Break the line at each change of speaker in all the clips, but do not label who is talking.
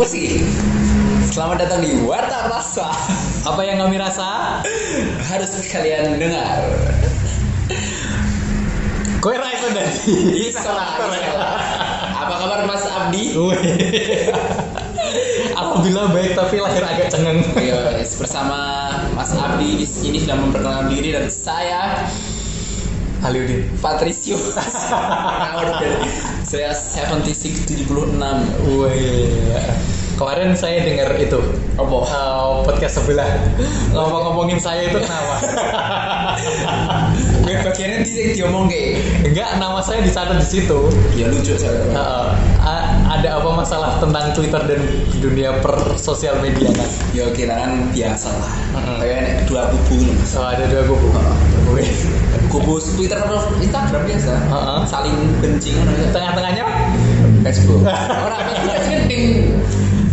Musik. Selamat datang di Warta Rasa.
Apa yang kami rasa?
Harus kalian dengar.
Kowe ra iso dadi.
Isola, isola. Iya, Apa kabar Mas Abdi?
Weh. Alhamdulillah baik tapi lahir agak cengeng.
Ayo, Iya, guys, bersama Mas Abdi di sini sudah memperkenalkan diri dan saya
Aliudin.
Patricio. Tahun dari- saya 76 76.
Wih. Kemarin saya dengar itu
Apa?
eh, podcast sebelah ngomong-ngomongin saya itu kenapa?
Gue bagiannya di diomong kayak
Enggak, nama saya dicatat di situ.
ya lucu
Eh,
saya.
eh, a- ada apa masalah tentang Twitter dan dunia per sosial media kan?
Ya oke lah kan biasa lah.
Mm-mm.
Kayak nek dua kubu nih Mas.
So Oh, ada dua kubu. Wih.
Kubu Twitter atau Instagram biasa.
Heeh.
Saling benci ngono ya.
Tengah-tengahnya
Facebook. Orang Facebook kan tim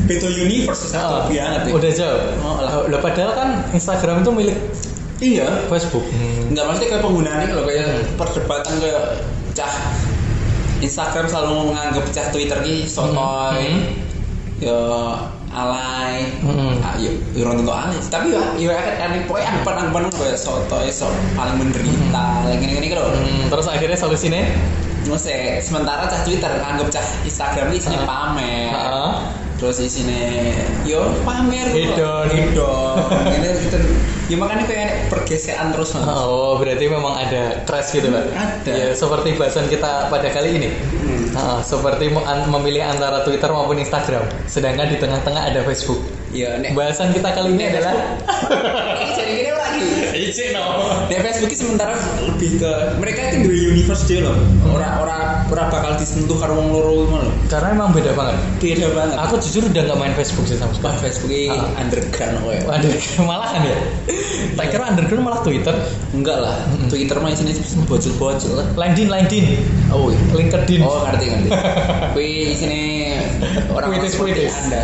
Beto Universe satu
eh,
banget. ya.
udah jauh.
Oh, lah.
Lah, padahal kan Instagram itu milik
Iya.
Facebook.
Enggak maksudnya kayak penggunaannya kalau kayak perdebatan kayak cah Instagram selalu menganggap cah Twitter ini sotoy.
Hmm.
Ya alay.
Hmm.
Ah, yo, yo orang tentu alay. Tapi ya, yo akan kan pokoknya angpan-angpan kayak sotoy, sok paling menderita, yang gini-gini gitu loh.
Hmm, terus akhirnya solusinya?
Maksudnya, sementara cah Twitter anggap cah Instagram ini isinya
Ah.
pamer.
Heeh.
terus isinya yo pamer gitu.
Hedon.
hedon ini kita ya makanya kayak pergeseran terus Mas.
Oh, berarti memang ada crash gitu, Pak?
Ada.
Ya, seperti bahasan kita pada kali ini.
Hmm.
Ah, seperti me- an- memilih antara Twitter maupun Instagram. Sedangkan di tengah-tengah ada Facebook.
ya nek
Bahasan kita kali ini
Nek
adalah
Facebook. jadi gini lagi
Ijin
nek Facebook ini sementara lebih ke mereka itu dua universe dia loh
Hmm.
orang orang orang bakal disentuh karo wong loro itu loh
Karena emang beda banget.
beda banget
Aku jujur udah nggak main Facebook sih sama
Wah,
sekali.
Facebook ini
Ah.
underground oh ya. kowe.
Waduh, malahan ya. Tak kira underground malah Twitter.
enggak lah Twitter mah isinya bocil-bocil lah
LinkedIn, LinkedIn,
oh iya.
LinkedIn.
Oh ngerti ngerti. Kui sini orang
Puitis,
seperti
puitis.
Anda.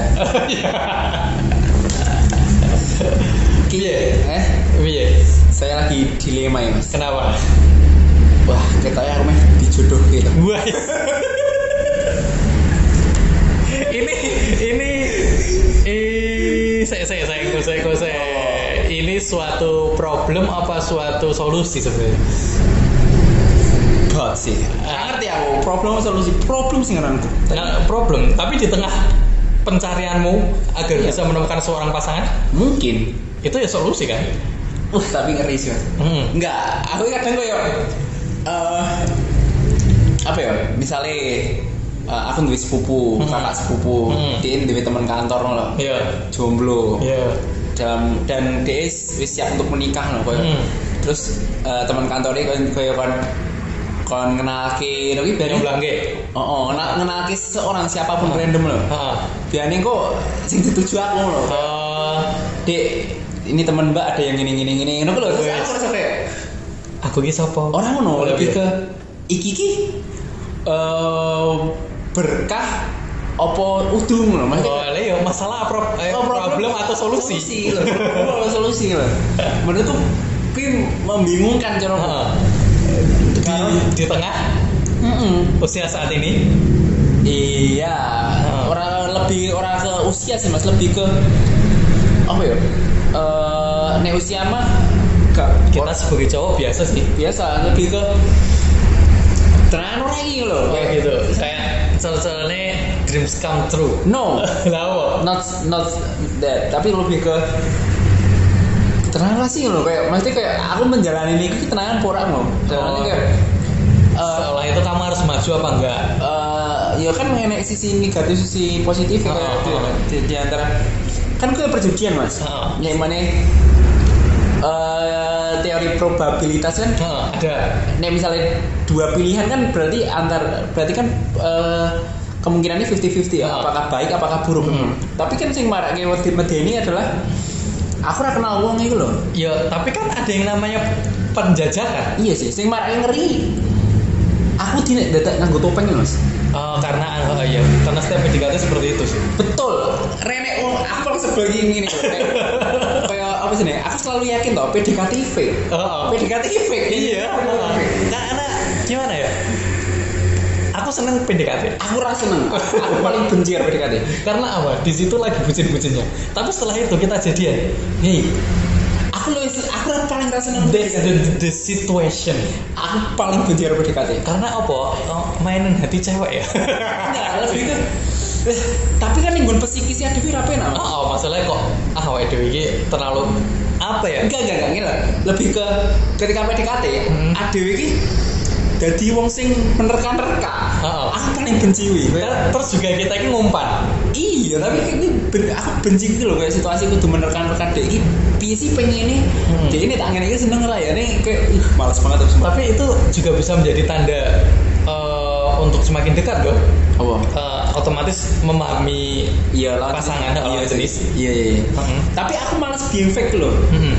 Iya.
Kiye, eh
Iya.
saya lagi dilema ya mas.
Kenapa?
Wah kita ya rumah dijodoh gitu.
Wah. ini ini eh saya saya saya saya saya, saya. ini suatu problem apa suatu solusi sebenarnya?
Bot sih. Nggak ngerti aku. Problem solusi problem sih ngaranku.
Nah, problem, tapi di tengah pencarianmu agar
Iya.
bisa menemukan seorang pasangan
Mungkin.
itu ya solusi kan?
Uh tapi ngeri sih mas.
Hmm.
Enggak. Aku kadang kayak eh apa ya? Misalnya eh, aku duwe sepupu,
Hmm.
kakak sepupu,
Hmm.
dia duwe teman kantor loh.
Iya.
Jomblo.
Iya.
dalam dan dia is- wis siap untuk menikah loh koyo.
Hmm.
Terus eh, teman kantornya koyo koyo kon kon kenalke tapi biar
Yang belangge.
Oh, oh kenal kenalke seorang siapapun random loh.
Heeh.
Biasanya kok sing dituju aku loh.
Eh,
Dek, ini teman Mbak ada yang gini gini gini. Ngono lho. Terus aku
Wes.
rasa kayak
aku ini siapa?
orang ngono
Oh,
lebih
iya.
ke iki iki eh, berkah apa udung loh maksudnya
Oh, lah ya masalah pro- eh,
Oh,
problem atau solusi.
solusi loh problem atau solusi loh menurutku kui membingungkan cara
Heeh.
Karena-
di, di tengah
Mm-mm.
usia saat ini
iya
Ah.
orang lebih orang ke usia sih mas lebih ke apa ya Eh, nek usia mah gak
kita sebagai cowok biasa sih
biasa lebih ke terangan orang ini loh
kayak gitu kayak soalnya dreams come true
no
lah
not not that tapi lebih ke tenang lah sih loh kayak maksudnya kayak aku menjalani ini aku tenangan porak loh Jalannya
Oh.
kayak eh,
seolah itu kamu harus maju apa enggak
eh, ya kan mengenai sisi negatif sisi positif ya,
Oh,
kayak di,
oh.
di- di antara kan kayak perjudian mas
Oh.
yang mana eh, teori probabilitas kan
Heeh, ada
Nek misalnya dua pilihan kan berarti antar berarti kan eh, kemungkinannya 50-50 ya,
Heeh.
apakah baik apakah buruk.
Hmm.
Tapi kan sing marake wedi medeni adalah aku ora kenal wong iku lho.
ya tapi kan ada yang namanya penjajakan
Iya sih, sing marake ngeri. Aku tidak dadak nganggo topeng lho, Mas.
Eh, karena oh, iya karena setiap PDKT seperti itu sih
Betul. Rene wong aku lagi sebel iki ngene lho. Kayak- Kayak apa sih nih? Aku selalu yakin toh PDKT fake. Iya.
Oh, Heeh.
PDKT fake.
Nah, iya karena gimana ya aku seneng PDKT.
aku rasa seneng aku paling benci karo PDKT
Karena apa? Di situ lagi bucin-bucinnya. Tapi setelah itu kita jadian. Hey,
aku lo aku ra- paling rasa seneng
that's the,
PDKT.
the situation.
aku paling benci karo PDKT
Karena apa? Oh, mainan hati cewek ya.
enggak lebih ke eh, tapi kan yang gue psikisnya dewi rapi nama
Oh, oh, masalahnya kok ah awake dhewe iki terlalu apa ya?
enggak enggak enggak ngene lah. lebih ke ketika PDKT ya
Hmm.
adewe iki dadi wong sing menerka-nerka
Oh.
aku paling benci wi
Ter- Terus juga kita ini ngumpan.
iya tapi ini ben- aku benci gitu loh kayak situasi kudu menerka-nerka dek iki piye sih pengen ini
Hmm.
jadi ini tangan ini seneng lah ya ini kayak ih, males banget terus
Tapi itu juga bisa menjadi tanda eh, untuk semakin dekat loh.
apa
Eh, otomatis memahami
iya lah
Pasangan,
iya
lawan jenis.
iya iya iya.
Heeh.
tapi aku males being fake loh
Mhm.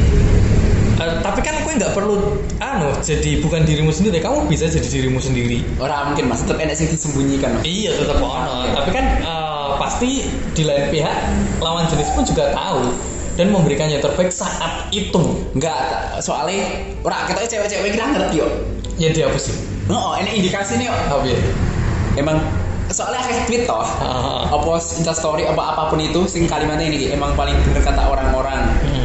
Eh, tapi kan kue nggak perlu anu jadi bukan dirimu sendiri kamu bisa jadi dirimu sendiri
orang mungkin mas tetap enak sih disembunyikan
iya tetap ono tapi kan eh, pasti di lain pihak lawan jenis pun juga tahu dan memberikan yang terbaik saat itu
enggak soalnya orang kita cewek-cewek kita ngerti yo
ya dia apa sih
Oh, ini indikasi nih
apa ya
emang soalnya akeh tweet toh
Ah.
apa instastory apa apapun itu sing kalimatnya ini Ki, emang paling bener kata orang-orang
Mhm.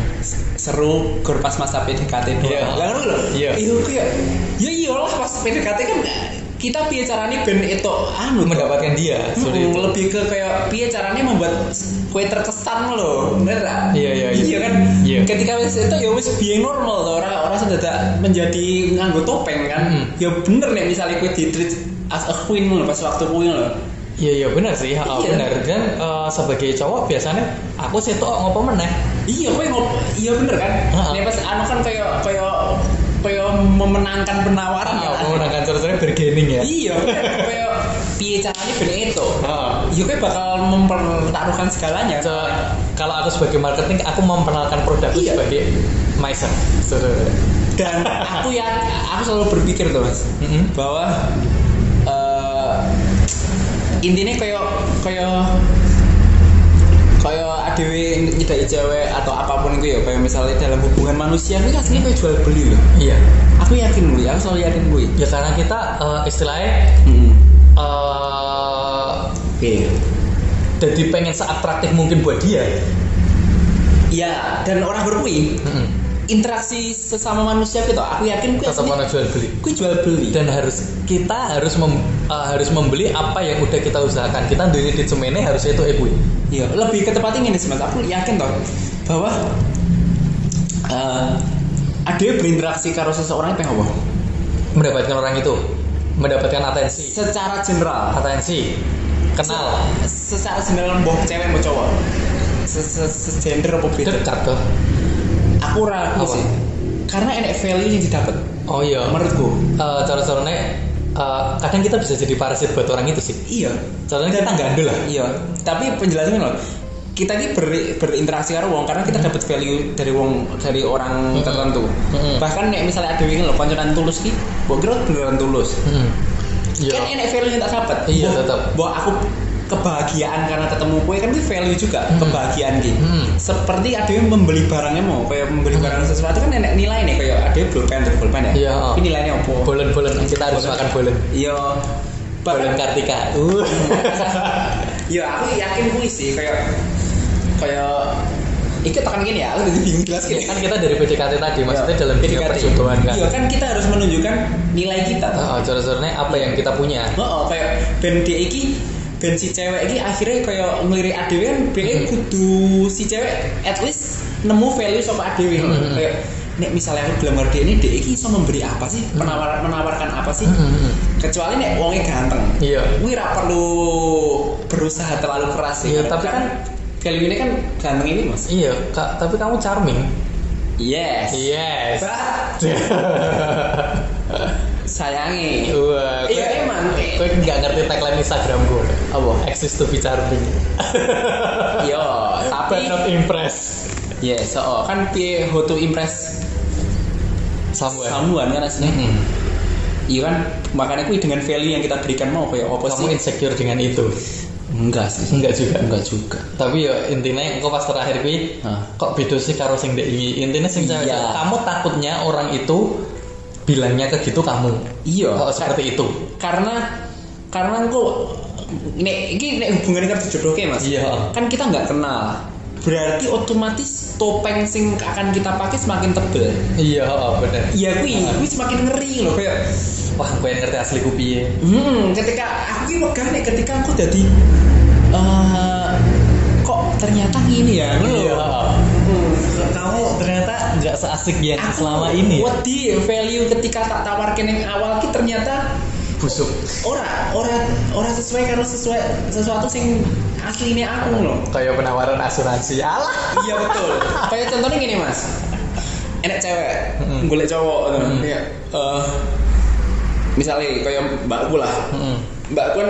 seru gur pas masa PDKT doang.
Iya.
lah ngono lho
Iya.
iya ku ya ya iyalah pas PDKT kan kita piye carane ben itu anu toh.
mendapatkan dia
Mm,
seperti itu
lebih ke kayak piye caranya membuat kue terkesan loh bener gak?
Iya, iya, iya.
iya kan
Iya.
ketika wis itu ya wis being normal tuh orang orang sedadak menjadi nganggo topeng kan
Mm.
ya bener nih misalnya kue di treat as a queen loh pas waktu queen loh
iya iya benar sih ha,
Iya.
benar dan eh, sebagai cowok biasanya aku sih tuh ngopo meneh
iya kue ngop iya bener kan
Ha-ha.
nih pas anu kan kayak kayak kayak memenangkan penawaran ya
aku menangkan cara bergening ya
iya kayak piye caranya bener itu
Ha.
ya kue bakal mempertaruhkan segalanya
Se- kalau aku sebagai marketing aku memperkenalkan produkku
Iya.
sebagai myself
dan aku ya aku selalu berpikir tuh mas
Mm-mm.
bahwa eh, intinya kayak kayak kayak adewe nyedai cewek atau apapun itu ya kayak misalnya dalam hubungan manusia itu aslinya kayak jual beli loh
iya
aku yakin gue aku selalu yakin gue
ya karena kita eh, istilahnya
Mm-mm.
eh,
Oke.
jadi pengen seatraktif mungkin buat dia
Iya, dan orang berkui
Mm-mm.
interaksi sesama manusia gitu. Aku yakin gue
tetap
aslinya
mau jual beli
gue jual beli.
dan harus kita harus mem- eh, harus membeli apa yang udah kita usahakan kita dari di semene harus itu ibu
Iya, lebih ke tepatnya ini sih mas. Aku yakin toh bahwa eh ada yang berinteraksi karo seseorang itu apa?
mendapatkan orang itu mendapatkan atensi
Secara general,
atensi kenal
Se- secara general mau cewek mau cowok, Se- se- se-gender apa beda?
dekat tuh
Aku ragu
Apa?
sih, karena enak value yang didapat.
oh iya
Menurutku,
Eh, cara-caranya eh, kadang kita bisa jadi parasit buat orang itu sih
iya.
caranya kita gandul lah
Iya, tapi penjelasannya loh. Kita ini ber- berinteraksi karo wong karena kita dapat value dari wong dari orang
Mm-mm.
tertentu.
Mm-mm.
Bahkan nek misalnya ada yang lho konconan tulus ki, mbok kira beneran tulus.
Mm-mm. iya
kan enak value yang tak dapat
Iya,
Bahwa-
tetap.
bahwa aku kebahagiaan karena ketemu kue kan itu value juga
Hmm.
kebahagiaan gitu
Hmm.
seperti ada yang membeli barangnya mau kayak membeli
Hmm.
barang sesuatu kan enak nilai nih kayak ada yang pulpen terus pulpen ya
Iya.
tapi nilainya apa
bolen-bolen kita harus makan bolen
iya
bolen
bahkan-
kartika uh.
ya aku yakin gue sih kayak kayak itu tekan gini ya aku jadi bingung jelas
Ya,
gini Ya,
kan kita dari PDKT tadi maksudnya dalam tiga
PDKT.
perjodohan kan
iya kan kita harus menunjukkan nilai kita
Eh,
toh.
eh, cara-caranya apa yang kita punya
oh, oh, kayak band dia iki band si cewek iki akhirnya kayak ngelirik adewe kan dia
Hmm.
kudu si cewek at least nemu value sama adewe
Hmm.
kayak nek misalnya aku belum ngerti ini dia iki bisa memberi apa sih
Hmm.
menawar, menawarkan apa sih
Mm-mm, mm-mm.
kecuali nek wongnya ganteng
iya
Wih, ra perlu berusaha terlalu keras sih.
Iya, tapi
value ini kan ganteng ini, Mas.
iya Kak, tapi kamu charming
Yes.
yes
But, sayangi.
Wah,
Iya, emang.
Gue nggak ngerti tagline Instagram gue.
Apa?
Exist to be charming.
Yo,
But
Iya, tapi
not impressed.
yes, so kan piye how to impress
Someone.
someone kan aslinya.
Mm-mm.
Iya kan, makanya kui dengan value yang kita berikan mau kayak apa
Kamu
sih?
insecure dengan itu?
Enggak sih.
Enggak juga.
Enggak juga.
Tapi ya intinya kok pas terakhir gue
Hah.
kok beda sih karo sing dek iki. Intinya sing cewek-
Iya.
kamu takutnya orang itu bilangnya ke gitu kamu.
Iya.
Kok seperti itu.
Karena karena aku nek iki nek hubungannya kerja jodoh kayak mas
Iya.
kan kita nggak kenal berarti otomatis topeng sing akan kita pakai semakin tebel
iya bener
ya kui kui semakin ngeri loh kayak
wah gue yang ngerti asli ku piye
hmm, ketika aku ini wegah nek ketika aku jadi eh, kok ternyata gini ya ngono
Iya.
loh.
kamu ternyata nggak seasik yang
Aku
selama ini ya
wedi value ketika tak tawarkan yang awal ki ternyata
busuk
ora ora ora sesuai karo sesuai sesuatu sing aslinya aku loh
kayak penawaran asuransi alah
iya betul kayak contohnya gini mas enak cewek
Mm-mm.
golek cowok gitu.
Mm-mm.
Iya. Eh, misalnya kayak mbakku lah
Mm-mm.
mbakku kan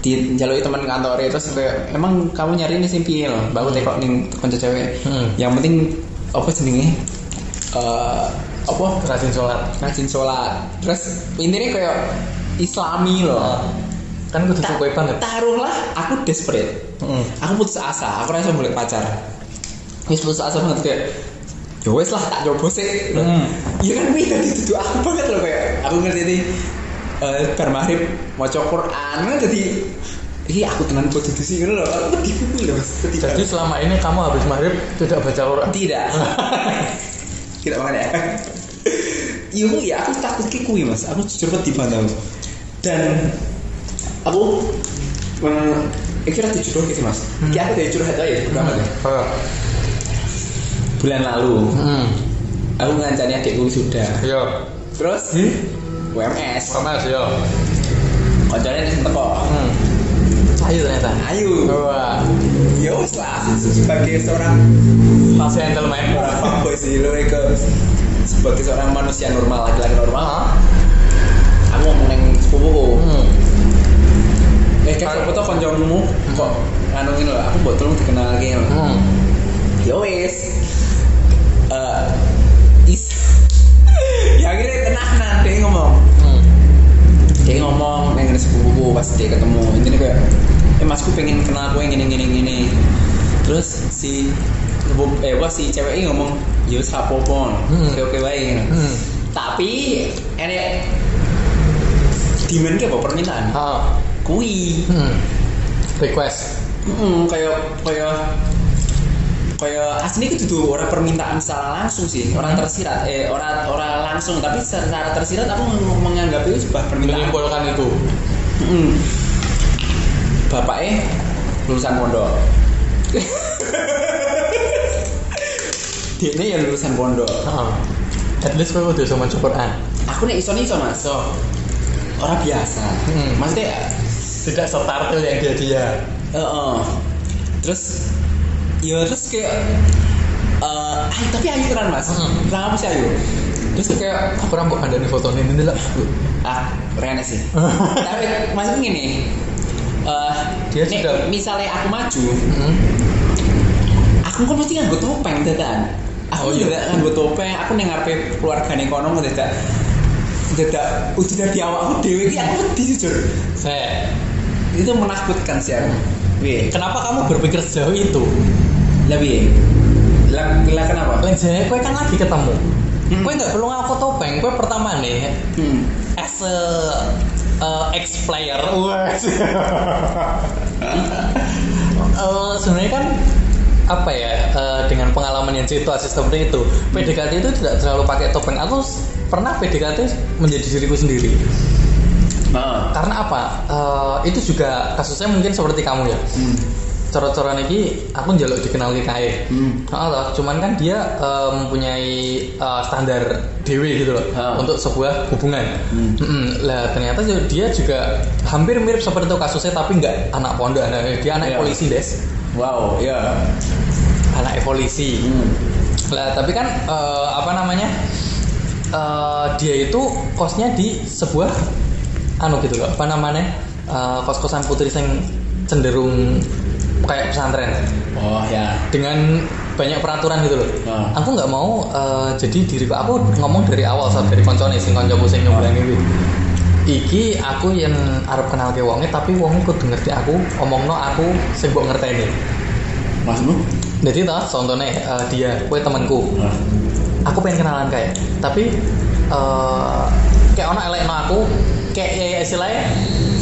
di jalui teman kantor terus kayak emang kamu nyari ini simpi loh mbakku teko ning konco cewek
Mm.
yang penting apa jenenge Eh, apa
rajin sholat
rajin sholat terus intinya kayak islami loh
kan kudu
Ta-
cukup banget
taruhlah aku desperate
Mm.
aku putus asa aku rasa boleh pacar wis putus asa banget kayak ya wes lah tak coba sih Loh,
Hmm.
iya kan wih tadi itu aku banget loh kayak aku ngerti ini eh bar maghrib mau Quran kan jadi ini aku tenan kok jadi sih gitu loh aku tipu loh mas Ketika-
jadi selama ini kamu habis maghrib tidak baca Quran
tidak tidak banget ya iya Bu, ya aku takut kayak kui mas aku jujur banget dipandang dan aku eh, ini rata jujur gitu mas
Hmm.
Kayak aku dari curhat aja ya. pertama deh.
Heeh.
Hmm. bulan lalu
Hmm.
aku ngancani adikku sudah
Yo.
terus
Hmm.
WMS
Sama sih yo.
kocoknya nih teko
Hmm. Ayo ternyata.
ayo
Wah.
ya wes lah sebagai seorang
Pasti gentleman.
orang fuckboy sih lu ke sebagai seorang manusia normal laki-laki normal aku ngomong neng sepupuku
Hmm.
eh kan
Ah.
sopo tuh konjomu kok anu ini loh aku buat tolong dikenal gini loh
Hmm.
ya wes Eh, is ya akhirnya tenanan dia ngomong
Hmm.
dia ngomong pengen sepupuku pas dia ketemu intinya kayak eh masku pengen kenal aku yang gini gini gini terus si sepupu- eh wah si cewek ini ngomong "Ya yo sapo pon
Hmm.
oke oke baik gitu.
Hmm.
tapi ada demand apa permintaan
Ah.
kui
Hmm. Request.
Mm, kayak kayak kayak asli itu tuh orang permintaan secara langsung sih orang tersirat eh orang orang langsung tapi secara tersirat aku meng- menganggap itu sebuah permintaan
Menyimpulkan itu.
mm. bapaknya lulusan pondok dia ya lulusan pondok
Heeh. At least kowe udah sama Quran.
aku nih iso iso mas
So,
orang biasa
Mm.
maksudnya
tidak setartil yang dia dia.
eh, eh. terus ya terus kayak eh, ayu- tapi ayu tenan mas
Mm.
kenapa sih ayu terus kayak
Aku ora mbok kandhani fotone ini lah.
ah keren sih tapi maksudnya gini eh
Dia
nek
sudah-
misalnya aku maju
Hmm.
aku kan mesti nganggo topeng dadan aku
Oh, iya.
juga nganggo topeng aku ning ngarepe keluargane kono ngono dadak dadak udah dari awakku dhewe iki aku wedi jujur
Saya,
itu menakutkan sih aku piye
kenapa kamu berpikir sejauh itu?
lah piye lah lah kenapa
Lenjanya kowe kan lagi ketemu.
Hmm.
Kowe nggak perlu ngaku topeng. Kowe pertama nih
hmm.
as a uh, ex player. Eh, sebenarnya kan apa ya eh, dengan pengalaman yang situasi seperti itu PDKT itu tidak terlalu pakai topeng aku s- pernah PDKT menjadi diriku sendiri
Heeh.
karena apa Eh, itu juga kasusnya mungkin seperti kamu ya
Hmm.
coro-coron ini aku njaluk dikenal di kae
Hmm.
Heeh toh, cuman kan dia eh, mempunyai eh, standar dewi gitu loh
Ha.
untuk sebuah hubungan.
Hmm.
Mm-mm. Lah ternyata ju- dia juga hampir mirip seperti itu kasusnya tapi nggak anak pondok, anak, dia anak
Iya.
polisi des,
wow ya
anak polisi.
hmm.
Lah tapi kan eh, apa namanya eh, dia itu kosnya di sebuah anu gitu loh, apa namanya eh, kos-kosan putri yang cenderung kayak pesantren
oh ya
dengan banyak peraturan gitu loh.
Nah.
Aku nggak mau eh, jadi diriku. Aku ngomong dari awal soal dari koncone sing koncoku sing nyobain iki. Iki aku yang arep kenal ke wonge tapi wonge kudu ngerti aku, omongno aku sing mbok ngerteni.
maksudmu
Jadi toh contohnya eh, dia, kowe temanku.
Heeh.
Aku pengen kenalan kayak, tapi eh kayak ono elekno aku, kayak ya, ya, istilahnya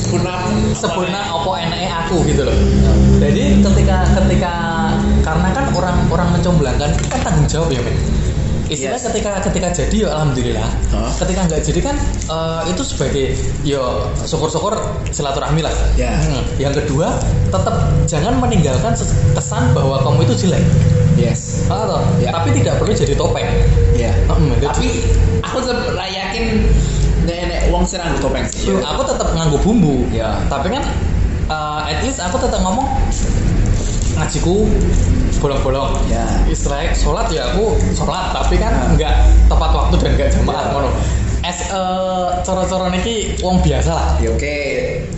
sempurna
sempurna opo enaknya aku gitu loh jadi ketika ketika karena kan orang-orang mencomblangkan itu kan tanggung jawab ya men istilah
Yes.
ketika ketika jadi ya alhamdulillah
Hah?
ketika nggak jadi kan eh, itu sebagai yo syukur-syukur silaturahmi lah
Ya.
Hmm. yang kedua tetap jangan meninggalkan ses- kesan bahwa kamu itu jelek
yes
Paham toh?
Ya.
tapi tidak perlu jadi topeng
ya
Hmm,
tapi aku tetap lah yakin nenek wong sing nganggo topeng Ya. sih
Loh, aku tetap nganggo bumbu
Ya.
tapi kan uh, at least aku tetap ngomong ngajiku bolong-bolong
Ya.
istilahnya sholat ya aku sholat tapi
Ya.
kan nggak tepat waktu dan nggak jamaah
Ya.
ngono as uh, coro-coro niki wong biasa lah
ya oke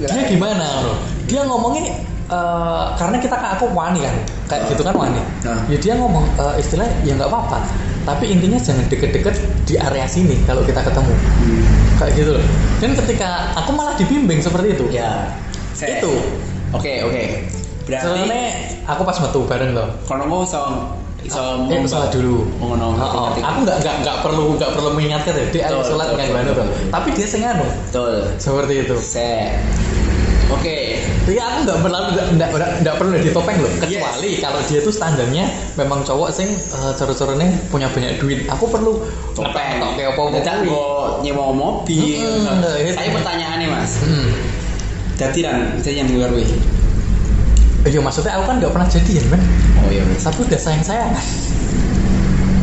Ya.
dia gimana ngono dia ngomongnya uh, karena kita kan aku wani kan kayak
Ah.
gitu kan wani
Ah.
ya dia ngomong uh, istilah ya nggak apa-apa tapi intinya jangan deket-deket di area sini kalau kita ketemu
Hmm.
kayak gitu loh dan ketika aku malah dibimbing seperti itu
ya Saya-
Itu.
oke oke
soalnya
berarti
aku pas metu bareng loh
kalau ngomong song song
Eh, sholat dulu.
ngono
Oh, aku nggak nggak nggak perlu nggak perlu mengingatkan ya. Dia ayo
Betul,
sholat
betul,
dengan
betul,
bano
betul,
Bang.
betul.
Tapi dia senganu
betul
seperti itu.
saya oke
Iya aku nggak perlu nggak nggak- nggak nggak perlu ditopeng loh. Kecuali kalau dia tuh standarnya memang cowok sing eh, coro-corone punya banyak duit. Aku perlu
topeng
Oke apa apa.
Dadak nggo nyewa mobil
Mm-mm.
saya pertanyaannya mas
Hmm.
dadi ran saya yang luar wih
Iya maksudnya aku kan nggak pernah jadian kan.
oh iya mas
Tapi udah sayang sayang.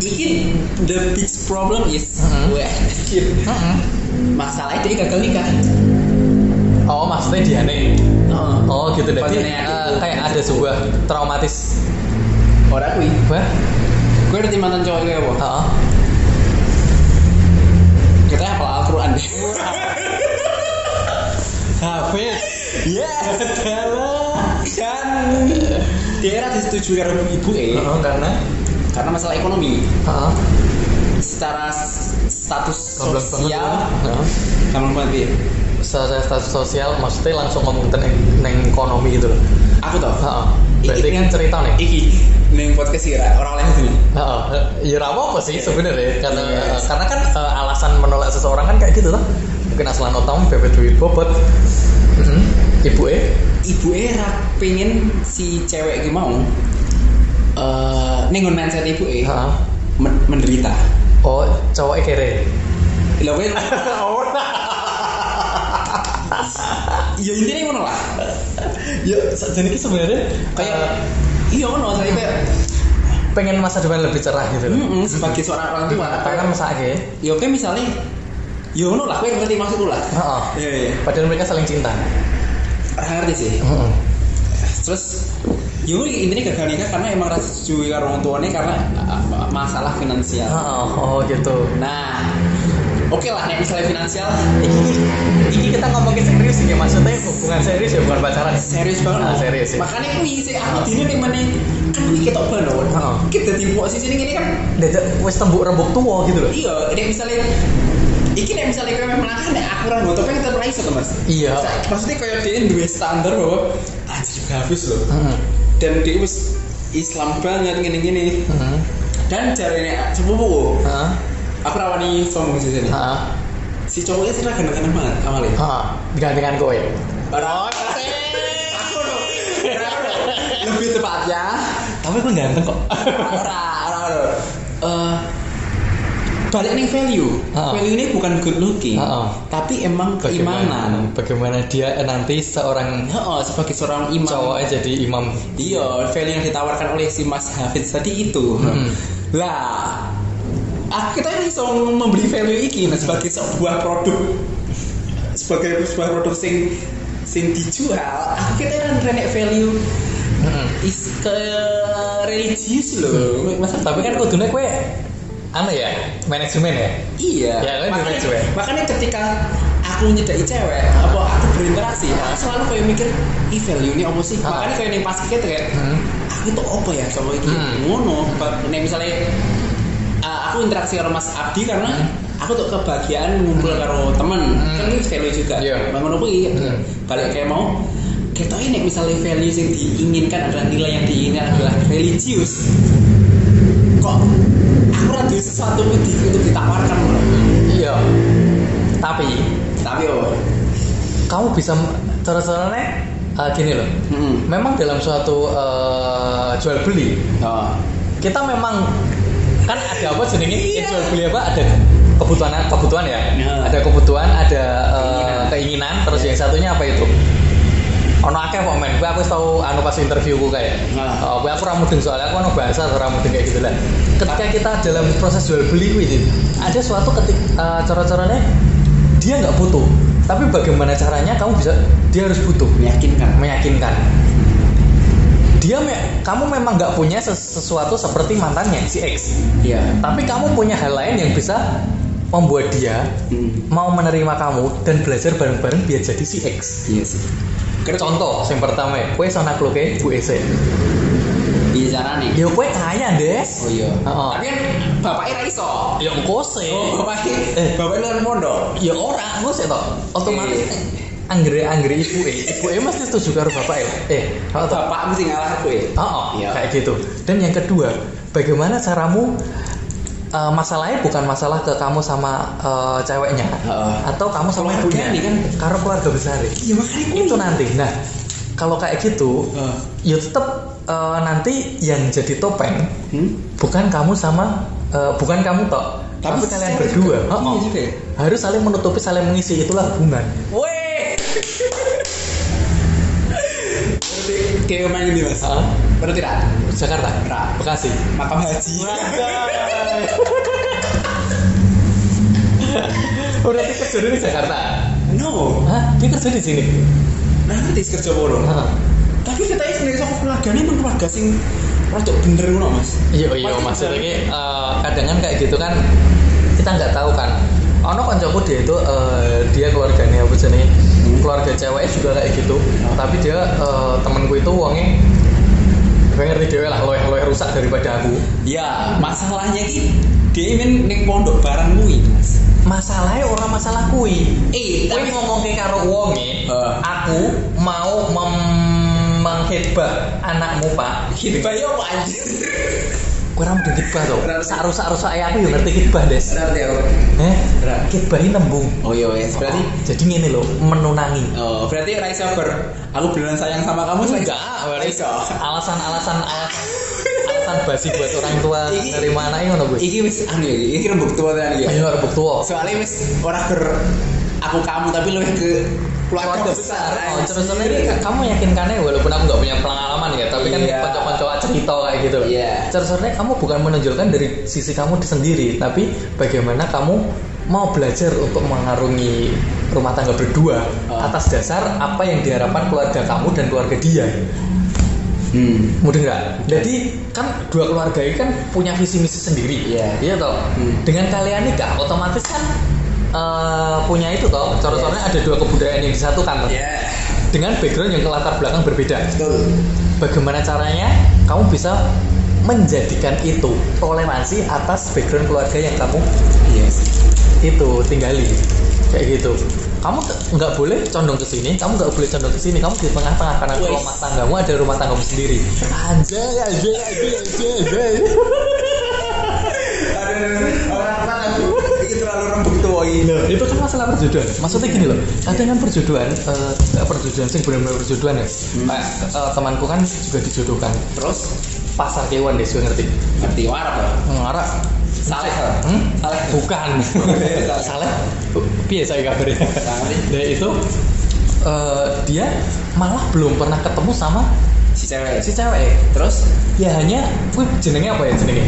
ini the big problem is
Mm-mm.
weh, masalahnya dia gagal nikah
Oh maksudnya dia nih.
oh
Oh gitu jadi
Maksudnya
eh,
gitu.
kayak ada sebuah traumatis
ora kuwi
Wah,
gue ngerti mantan cowok gue apa
heeh.
kita hafal Al-Quran
Habis
ya adalah kan daerah disetujui karo ibu eh
Heeh, karena
karena masalah ekonomi
Heeh.
secara s- status
goblok banget ya.
sosial
Heeh.
kalau banget ya
Secara status sosial maksudnya langsung ngomong tentang neng ekonomi gitu loh
aku tau
Heeh.
Iki-
Berarti kan cerita nih
iki neng podcast sih Ra. orang lain dulu
Heeh. Ya ora apa sih sebenarnya karena
Iya.
karena kan eh, alasan menolak seseorang kan kayak gitu loh Mungkin asal notam bebet duit bobot Heeh. Ibu eh
ibu era pengen si cewek iki mau eh neng ngon mindset ibu eh
Heeh.
men- menderita
Oh, cowok kere.
lho kowe
Ora.
ya intinya ngono lah
Ya, jadi ini sebenarnya eh,
kayak
kayak
iya ngono saya kayak
pengen masa depan lebih cerah gitu loh.
mm-mm, sebagai seorang orang
Hmm,
tua
Pengen masa akhir.
ya oke misalnya ya ngono lah kowe ngerti maksudku lah
Heeh.
iya iya
Padahal mereka saling cinta.
Ora ngerti sih
Heeh.
terus ya ngono, intinya gagal nikah karena emang rasa setuju karo orang tuanya karena uh, masalah finansial
Heeh. Oh gitu.
Nah, oke lah, nek misalnya finansial
Ini, ini kita ngomongin serius sih ya maksudnya hubungan serius ya bukan pacaran.
serius banget.
Ah, serius, ya.
Makanya aku isi aku dini nih mana kan ini ketok banget.
Heeh.
Kita di posisi ini gini kan,
Dadak wis tembuk rembuk tua gitu loh.
iya. Nek misalnya, iki nek misalnya kau memang nakal, nek aku orang gue topeng kita pernah iso tuh mas.
Iya.
Sa- Maksudnya kau dia dua standar bahwa anjir habis loh.
Heeh.
Dan dia wis Islam banget gini-gini.
Heeh.
Dan caranya sepupu.
Heeh.
Aku rawani sombong di sini.
Heeh.
Si cowoknya sih ragan-ragan banget ya? awalnya.
Heeh. Gantengan kowe.
Orang aku loh. Lebih tepatnya
Tapi gue ganteng kok.
orang orang loh. Eh, balik nih value.
Heeh.
Value ini bukan good looking,
Heeh.
tapi emang
Bagaimana,
keimanan.
bagaimana dia nanti seorang
Heeh, sebagai seorang imam.
cowoknya jadi imam
Iya, value yang ditawarkan oleh si Mas Hafiz tadi itu.
Hmm.
Lah, aku kita bisa membeli value ini nah, sebagai sebuah produk sebagai sebuah produk sing sing dijual aku kita kan renek value
Heeh.
is ke religius loh masa
tapi kan kudunya kue anu ya manajemen ya
iya
Ya, kan,
makanya,
cewek.
makanya ketika aku nyedai cewek apa aku berinteraksi aku selalu kayak mikir i value ini apa sih
Ah.
makanya kayak yang pas kita kayak
Hmm.
aku tuh apa ya sama ini
Hmm.
ngono Ba- nek misalnya uh, aku interaksi sama Mas Abdi karena aku tuh kebahagiaan ngumpul karo temen
Hmm.
kan ini value juga
Iya.
bangun apa iya
Hmm.
balik kayak mau kita ini misalnya value yang diinginkan adalah nilai yang diinginkan adalah religius kok aku rada sesuatu di, untuk ditawarkan loh
iya tapi
tapi oh
kamu bisa cara-caranya eh, gini loh
Mm-mm.
memang dalam suatu eh, jual beli
Oh.
kita memang kan ada apa jenenge eh, jual beli apa ada kebutuhan kebutuhan ya
Iya.
ada kebutuhan ada eh, keinginan. terus yang satunya apa itu ono akeh kok men Kuwi aku wis tau anu pas interviewku kayak
Nah.
Eh, kuwi aku ra mudeng soalnya aku ono bahasa ora mudeng kayak gitu lah ketika kita dalam proses jual beli kuwi Dit, ada suatu ketik eh, cara-caranya dia nggak butuh tapi bagaimana caranya kamu bisa dia harus butuh
Meyakinkan.
meyakinkan dia me- kamu memang nggak punya ses- sesuatu seperti mantannya si X
Iya.
tapi kamu punya hal lain yang bisa membuat dia
Hmm.
mau menerima kamu dan belajar bareng-bareng biar jadi si X
Iya sih. Keren.
contoh yang pertama ya kue sana kluke bu Ese
Iya carane.
ya kue kaya des
Oh iya.
Heeh.
Tapi kan bapaknya ra iso.
ya kose
Oh, bapaknya.
Eh.
Bapaknya luar pondok.
ya ora gue sih toh otomatis
Iya.
anggere anggere ibu e ibu e mesti setuju karo bapak ya eh kalau toh
Bapak mesti ngalah aku ya.
Oh,
Iya.
kayak gitu. Dan yang kedua, bagaimana caramu eh, masalahnya bukan masalah ke kamu sama eh, ceweknya
Heeh.
atau kamu sama
Keluarga
ibunya,
nih kan.
karena keluarga besar.
Iya makanya kuwi.
Itu nanti. Nah, kalau kayak gitu,
Heeh.
ya tetap eh, nanti yang jadi topeng
Hmm?
bukan kamu sama eh, bukan kamu tok,
Tapi
tapi, kalian
saya
berdua.
juga.
Heeh.
Iya juga ya.
Harus saling menutupi, saling mengisi itulah hubungan.
Weh. Berarti kayak main ini mas.
Heeh.
Berarti tidak.
Jakarta,
Ra.
Bekasi.
Nah. Makam haji.
Udah kerja di Jakarta.
no.
Hah? Dia kerja di sini.
Nah ngerti sih kerja bodoh.
Heeh.
Tapi kita ini sendiri sama keluarganya emang keluarga sing rojok bener ngono mas.
Iya iya maksudnya eh, kadang kan kayak gitu kan kita nggak tahu kan. Ono koncoku dia itu eh, dia keluarganya apa jenenge? Keluarga cewek juga kayak gitu. Tapi dia eh, temenku itu wonge gue ngerti dewe lah loe loe rusak daripada aku.
Ya masalahnya ki dia ingin neng pondok barang kuwi mas.
Masalahnya orang masalah kui.
Eh,
Kui
tapi
ngomong ke karo wonge,
Eh.
aku mau mem- menghibah anakmu pak
kita ya apa anjir?
kurang mudeng khidbah tuh
Ora-
sak rusak rusak aku yang ngerti khidbah des
Berarti aku.
eh
Ora.
khidbahi nembung
Oh iya wes berarti.
jadi ngene loh menunangi
Oh berarti Raisa ber. Aku beneran sayang sama kamu Raisa. Raisa.
alasan-alasan alasan alasan basi buat orang tua
Iki-
dari mana ini ngono gue
Iki wis anu ya, iki rembuk tua tenan iki.
ayo rebuk tua
Soalnya wis ora ber aku kamu tapi lebih ke keluarga besar. eh.
oh
anjir.
terus ini kamu yakinkannya walaupun aku nggak punya pengalaman ya tapi kan
Iya.
kocok-kocok cerita kayak gitu
Iya.
terus sebenarnya kamu bukan menonjolkan dari sisi kamu sendiri tapi bagaimana kamu mau belajar untuk mengarungi rumah tangga berdua
Oh.
atas dasar apa yang diharapkan keluarga kamu dan keluarga dia
Hmm.
Mudeng nggak? Jadi kan dua keluarga ini kan punya visi misi sendiri.
Iya.
Iya toh.
Hmm.
Dengan kalian nikah otomatis kan eh, punya itu toh. Contohnya
Iya.
ada dua kebudayaan yang disatukan toh.
Ya.
Dengan background yang latar belakang berbeda.
Betul.
Bagaimana caranya kamu bisa menjadikan itu toleransi atas background keluarga yang kamu
Iya. sih.
itu tinggali kayak gitu kamu ke- nggak boleh condong ke sini kamu nggak boleh condong ke sini kamu di tengah-tengah karena
Wes.
rumah tanggamu ada rumah tanggamu sendiri anjay anjay anjay anjay, anjay.
Aduh, orang apa aku? Iki terlalu rembuk tua iki.
Loh, itu kan masalah perjodohan maksudnya gini loh kadang kan perjodohan eh, nggak perjodohan sih benar-benar perjodohan ya Kayak, eh, temanku kan juga dijodohkan
Terus
pasar kewan deh gue ngerti
ngerti warap ya.
ngarah
Saleh.
hmm?
Saleh.
bukan salah piye saya kabarnya
Saleh.
Nah itu eh, dia malah belum pernah ketemu sama
Si cewek.
si cewek.
Terus
Ya hanya kuwi jenenge apa ya jenenge?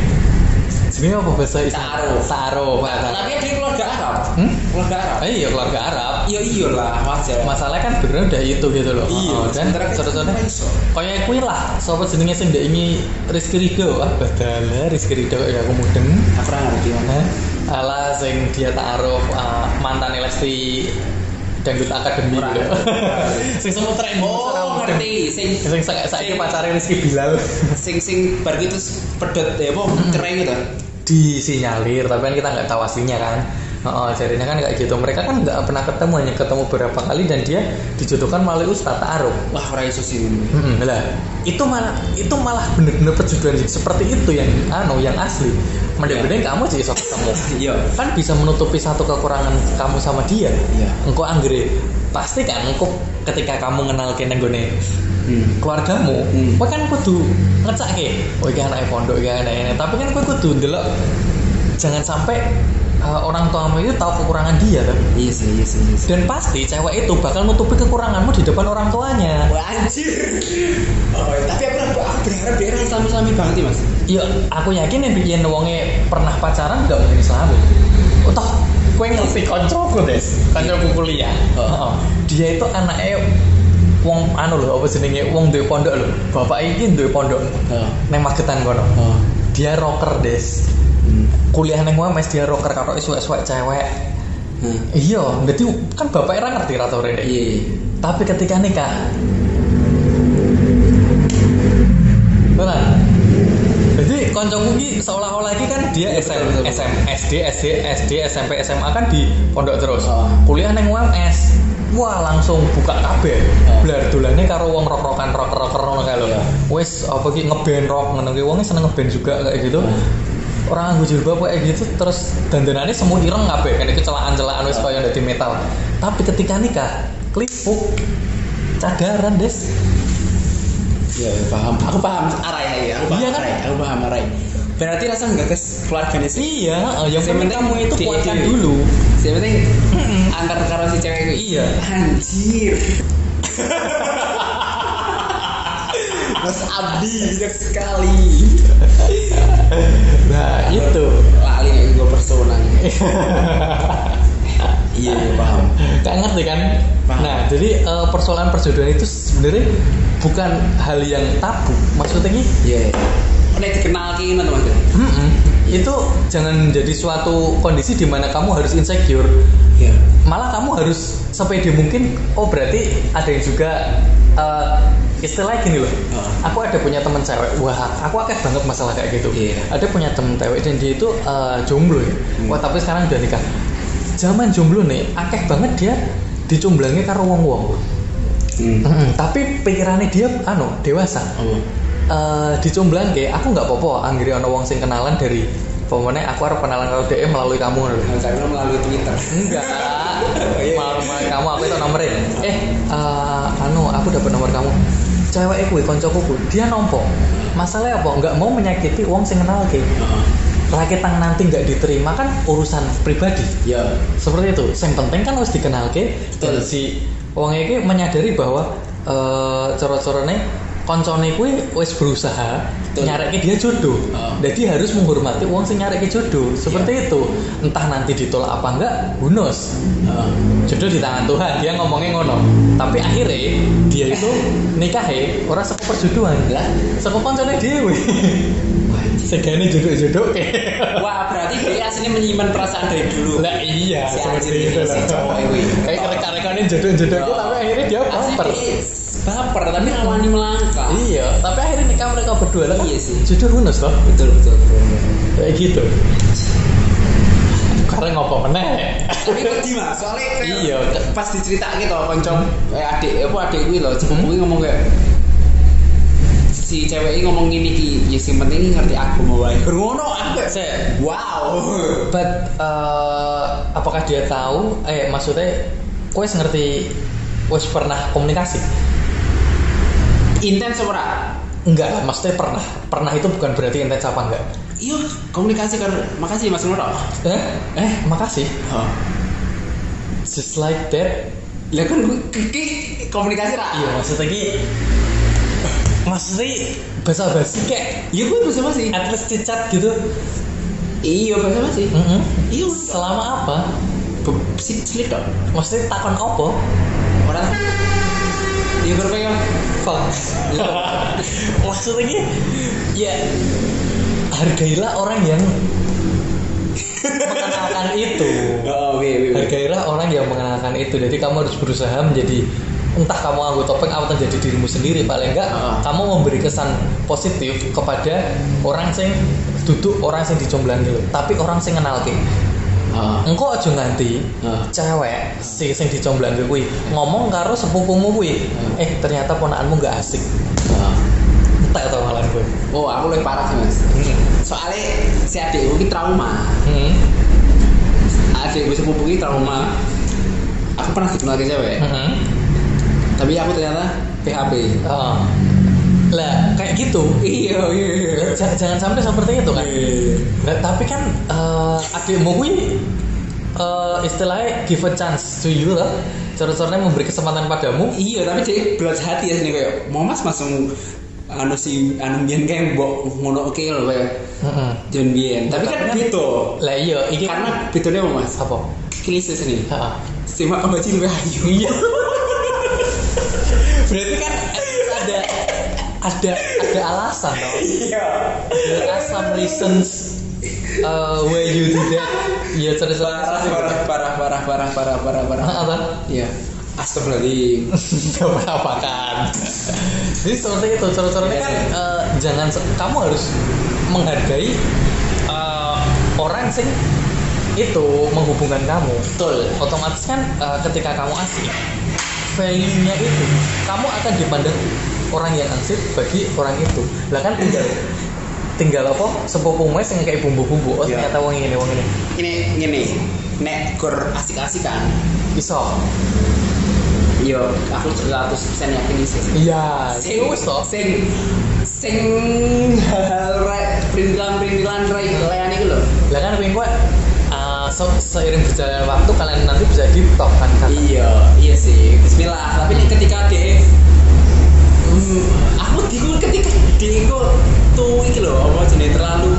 Jenenge apa bahasa Islam?
Ta'aruf.
Ta'aruf, bahasa.
tapi dia keluarga Arab.
Hmm?
Keluarga Arab.
Eh, iya keluarga Arab.
Iya iya lah wajar.
Masalah kan bener udah itu gitu loh.
Iya,
Oh, dan
sementara kan
seterusnya
kita iso.
kaya kuwi lah sobat jenenge sing ndek ini Rizky Ridho. Ah badale Rizky Ridho ya aku mudeng.
Aku ora ngerti mana.
Nah, ala sing dia ta'aruf ah, mantan Lesti Dangdut Akademi
Ora.
gitu. Sing semua tren
Oh ngerti. Sing
sing saya saya pacarnya Rizky Bilal
sing sing bar gitu pedot ya apa cerai gitu.
disinyalir tapi kan kita nggak tahu aslinya kan oh, jadinya kan kayak gitu mereka kan nggak pernah ketemu hanya ketemu beberapa kali dan dia dijodohkan melalui Ustaz Ta'aruf
Wah ora iso sih.
Mm-mm, lah itu malah itu malah bener-bener perjuduan seperti itu yang anu yang asli mending-mending kamu sih sok ketemu
Iya.
kan bisa menutupi satu kekurangan kamu sama dia
Iya.
engkau anggere pasti kan kok ketika kamu kenal nenggone
Hmm.
keluargamu
Hmm.
kowe kan kudu ngecak ke oh iki anake pondok iki anake ini tapi kan kowe kudu ndelok jangan sampai uh, orang tuamu itu tahu kekurangan dia tuh
Iya sih, iya sih, iya sih.
dan pasti cewek itu bakal nutupi kekuranganmu di depan orang tuanya
Wah anjir. Oh, tapi aku, aku berharap dia orang sami-sami banget sih mas.
ya aku yakin yang bikin wonge pernah pacaran gak mungkin selalu oh toh kue ngerti koncoku des koncoku kuliah
Oh.
Oh. dia itu anaknya wong anu lho apa jenenge wong duwe pondok lho bapak iki duwe pondok
Oh.
neng magetan kono
Oh.
dia rocker des
Hmm.
kuliah neng mes dia rocker karo suwek-suwek cewek
Hmm.
iya berarti kan bapak era ngerti rata rene
Iya. iya.
tapi ketika nikah benar jadi koncoku ki seolah-olah iki kan dia
Iya,
SM,
betul, betul.
SM, SD, SD, SD, SMP, SMA kan di pondok terus.
Oh.
Kuliah neng UMS. Wah, langsung buka kabeh.
Oh.
Blar dolane karo wong rok-rokan rock-rocker ngono kae lho.
Iya.
Wis apa ki ngeband rock ngono ki wong seneng ngeband juga kayak gitu.
Oh.
Orang nganggo jilbab kayak gitu terus dandanane semu ireng kabeh kan iki celaan-celaan wis
Oh.
kaya di metal. Tapi ketika nikah, klipuk cadaran des.
Iya, iya, paham. Aku paham arahnya ya. Aku paham
Iya, kan?
arahnya. Aku paham arahnya. Berarti rasa nggak kes keluarganya sih.
Iya, eh, yang
Yang
penting
penting
kamu itu
dia
kuatkan
dewe.
dulu.
Yang penting antar karo si cewek itu.
Iya.
Anjir. Mas Abdi bijak sekali.
Nah,
Gitu.
itu.
Lali nih gue persona nih. Iya, iya, paham.
Gak ngerti kan?
Paham.
Nah, jadi eh, persoalan perjodohan itu sebenarnya bukan hal yang tabu. Maksudnya ini,
Iya. iya. Oh, nek dikenal kini teman teman.
mm-mm, itu jangan jadi suatu kondisi di mana kamu harus insecure.
Iya.
Malah kamu harus sepede mungkin. Oh, berarti ada yang juga eh, istilahnya gini loh.
Oh.
Aku ada punya teman cewek. Wah, aku akeh banget masalah kayak gitu.
Iya. Hmm.
Ada punya teman cewek dan dia itu eh, jomblo ya. Wah, tapi sekarang udah nikah. Zaman jomblo nih, akeh banget dia dicumblangnya karo wong-wong.
Hmm.
Mm-mm, tapi pikirannya dia anu dewasa.
Oh.
Eh dicomblang ke, aku nggak popo anggere ana wong sing kenalan dari pemone aku harus kenalan karo dhek melalui kamu ngono lho.
Nah, cari lo melalui Twitter.
Enggak.
iya.
Malah melalui kamu aku itu nomorin. Eh eh, anu aku dapat nomor kamu. Cewek kuwi koncoku kuwi dia nompo. Masalahnya apa? Nggak mau menyakiti wong sing kenal ke.
Heeh.
Rakitang nanti nggak diterima kan urusan pribadi
Iya.
seperti itu yang penting kan harus dikenal ke
Betul.
dan si wong iki menyadari bahwa eh coro-corone koncone kuwi wis berusaha
Betul.
nyareke dia jodoh
Oh. Iya.
jadi harus menghormati wong sing nyareke jodoh seperti itu entah nanti ditolak apa enggak bonus
Heeh.
jodoh di tangan Tuhan dia ngomongnya ngono tapi akhirnya dia itu nikah ora saka perjodohan
Lah.
saka koncone dhewe segane jodoh-jodoh
Wah berarti dia aslinya menyimpan perasaan dari dulu.
Lah iya,
Si
seperti
anjing
itu
ini, si
lah.
cowok ini.
Kayak rekan-rekannya jodoh-jodoh itu, tapi akhirnya dia baper.
Aslinya dia baper tapi awalnya melangkah.
Iya, tapi akhirnya nikah mereka berdua lah. kan
Iya sih.
Jodoh hunus loh,
Betul betul. betul.
kayak gitu. Karena ngopo meneh.
Tapi pedih mas, soalnya kayak
Iya.
pas diceritain gitu koncom, eh adik, apa adik gue loh, sepupu gue ngomong kayak si cewek ini ngomong gini ki, ya sing penting ini ngerti aku mau wae. Ngono aku kayak,
Saya,
wow.
but eh, apakah dia tahu? Eh maksudnya, kue ngerti, wes pernah komunikasi?
Intens ora?
Enggak lah, maksudnya pernah. Pernah itu bukan berarti intens apa enggak?
Iya, komunikasi kan. Makasih Mas Nuro.
Eh, eh, makasih.
Oh.
Just like that,
Lah kan gue kiki komunikasi ra.
Iya maksudnya ki Maksudnya bahasa basi kayak
Iya gue bahasa masih.
At least cicat gitu
Iya bahasa masih.
Mm-mm.
Iya.
Selama apa?
Si cilik dong.
Maksudnya takon opo?
Orang. Iya berpengen.
Fuck Maksudnya ki Ya Hargailah orang yang Mengenalkan itu
Oh oke oke. oke.
Hargailah orang yang mengenalkan itu Jadi kamu harus berusaha menjadi entah kamu anggota topeng atau menjadi dirimu sendiri paling enggak
Ah.
kamu memberi kesan positif kepada orang sing duduk orang sing dijomblangi lho tapi orang sing kenal ke
Ah.
engko aja nganti
Ah.
cewek si sing dijomblangi kuwi ngomong karo sepupumu kuwi
Ah.
eh ternyata ponakanmu nggak asik
Ah.
entek tau malah gue
Oh aku lebih parah sih mas.
hmm.
Soalnya si adik gue ini trauma.
Hmm.
Adik gue sepupu ini trauma. aku pernah dikenalin cewek
Heeh.
tapi aku ternyata PHP
Oh. Lah, kayak gitu.
iya iya iya
J- jangan sampai seperti itu kan. Nah, tapi kan eh adikmu kuwi eh, istilahnya give a chance to you lah. Cara-caranya memberi kesempatan padamu.
iya tapi cek belas hati ya sini kayak mau mas masung anu si anu bian kayak mbok ngono oke lho kayak
Heeh.
jangan bian tapi kan beda
Lah iya, iki
karena bedanya apa mas
apa?
klise sini
Heeh.
simak kembali lebih ayu
Iya. Berarti kan ada ada ada alasan tau.
iya
There are some reasons uh, why you do that. Iya,
parah
cara-cara.
parah parah parah parah parah parah parah
Apa?
iya Astagfirullahaladzim
Gak merapakan Jadi seperti itu, cara-caranya kan eh, jangan se- kamu harus menghargai eh, orang sing itu menghubungkan kamu.
Betul
Otomatis kan eh, ketika kamu asik, value-nya itu kamu akan dipandang orang yang asik bagi orang itu. Lah kan tinggal tinggal apa sepupumu sing kayak bumbu-bumbu. Oh
Iya.
ternyata wong ini wong ini.
ini gini nek kur asik-asikan
Iso.
yo aku 100% yakin sih
Iya,
sing
itu iso.
sing sing hal-hal re- perintilan-perintilan re- lean itu loh
lah kan pengen gue uh, se- seiring berjalannya waktu kalian nanti bisa di top kan kan
iya iya sih bismillah tapi nih ketika dia Hmm, aku bingung ketika dia kok tuh iki loh apa jenis terlalu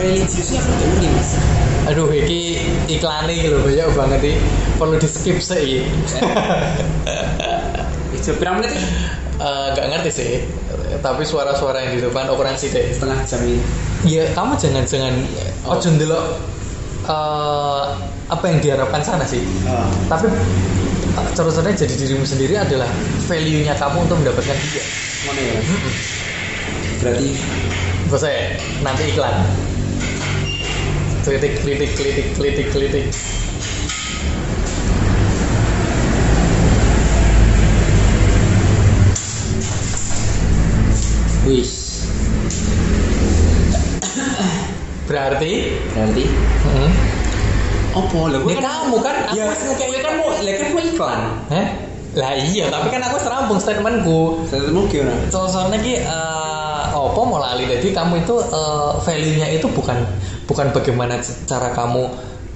religiusnya aku bingung nih mas
aduh iki iklannya gitu loh banyak banget nih perlu di skip sih
Eh, jam berapa menit ini?
Eh, nggak ngerti sih tapi suara-suara yang di depan operansi deh
setengah jam ini
ya kamu jangan-jangan
Apa?
ojo ndelok eh, apa yang diharapkan sana sih
Ah.
tapi eh, cara-caranya jadi dirimu sendiri adalah value-nya kamu untuk mendapatkan dia
ngono ya Mas? berarti
Bos saya nanti iklan. Kritik, kritik, kritik, kritik, kritik.
wis
Berarti,
berarti
hmm,
opo lah gue
Ya, kamu kan, aku
ya
wis ngekek-
gue kan mau lah kan mau iklan
eh? Lah iya, tapi kan aku serampung statementku.
saya mau gimana
Soalnya ki, eh, opo mau lali. Jadi kamu itu eh, value-nya itu bukan bukan bagaimana c- cara kamu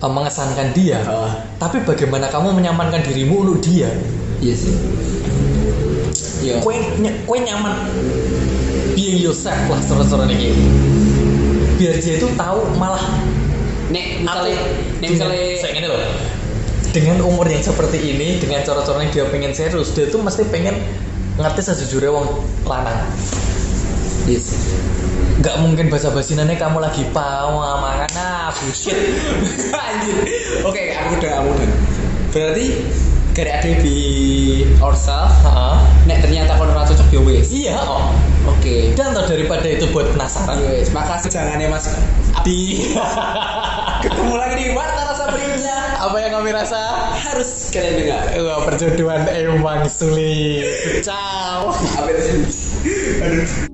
eh, mengesankan dia,
Oh.
tapi bagaimana kamu menyamankan dirimu untuk dia.
iya sih iya
kue ny- kue nyaman being yourself lah seru-seru ini biar dia itu tahu malah
nek aku
misalnya
nek
dengan-
misalnya
saya ini loh dengan umur yang seperti ini dengan cara-caranya dia pengen serius dia tuh mesti pengen ngerti sejujurnya wong lanang
iya sih
nggak mungkin bahasa basinannya kamu lagi pau makan ah bullshit
anjir oke aku udah aku udah berarti gak ada di ourself
Heeh.
nek ternyata kalau ora cocok ya wis
iya oh
oke
dan toh daripada itu buat penasaran
ya wis makasih jangan ya mas
di
ketemu lagi di warta rasa berikutnya
apa yang kami rasa
harus kalian dengar
Wah, eh, perjodohan emang sulit. Ciao.
apa itu aduh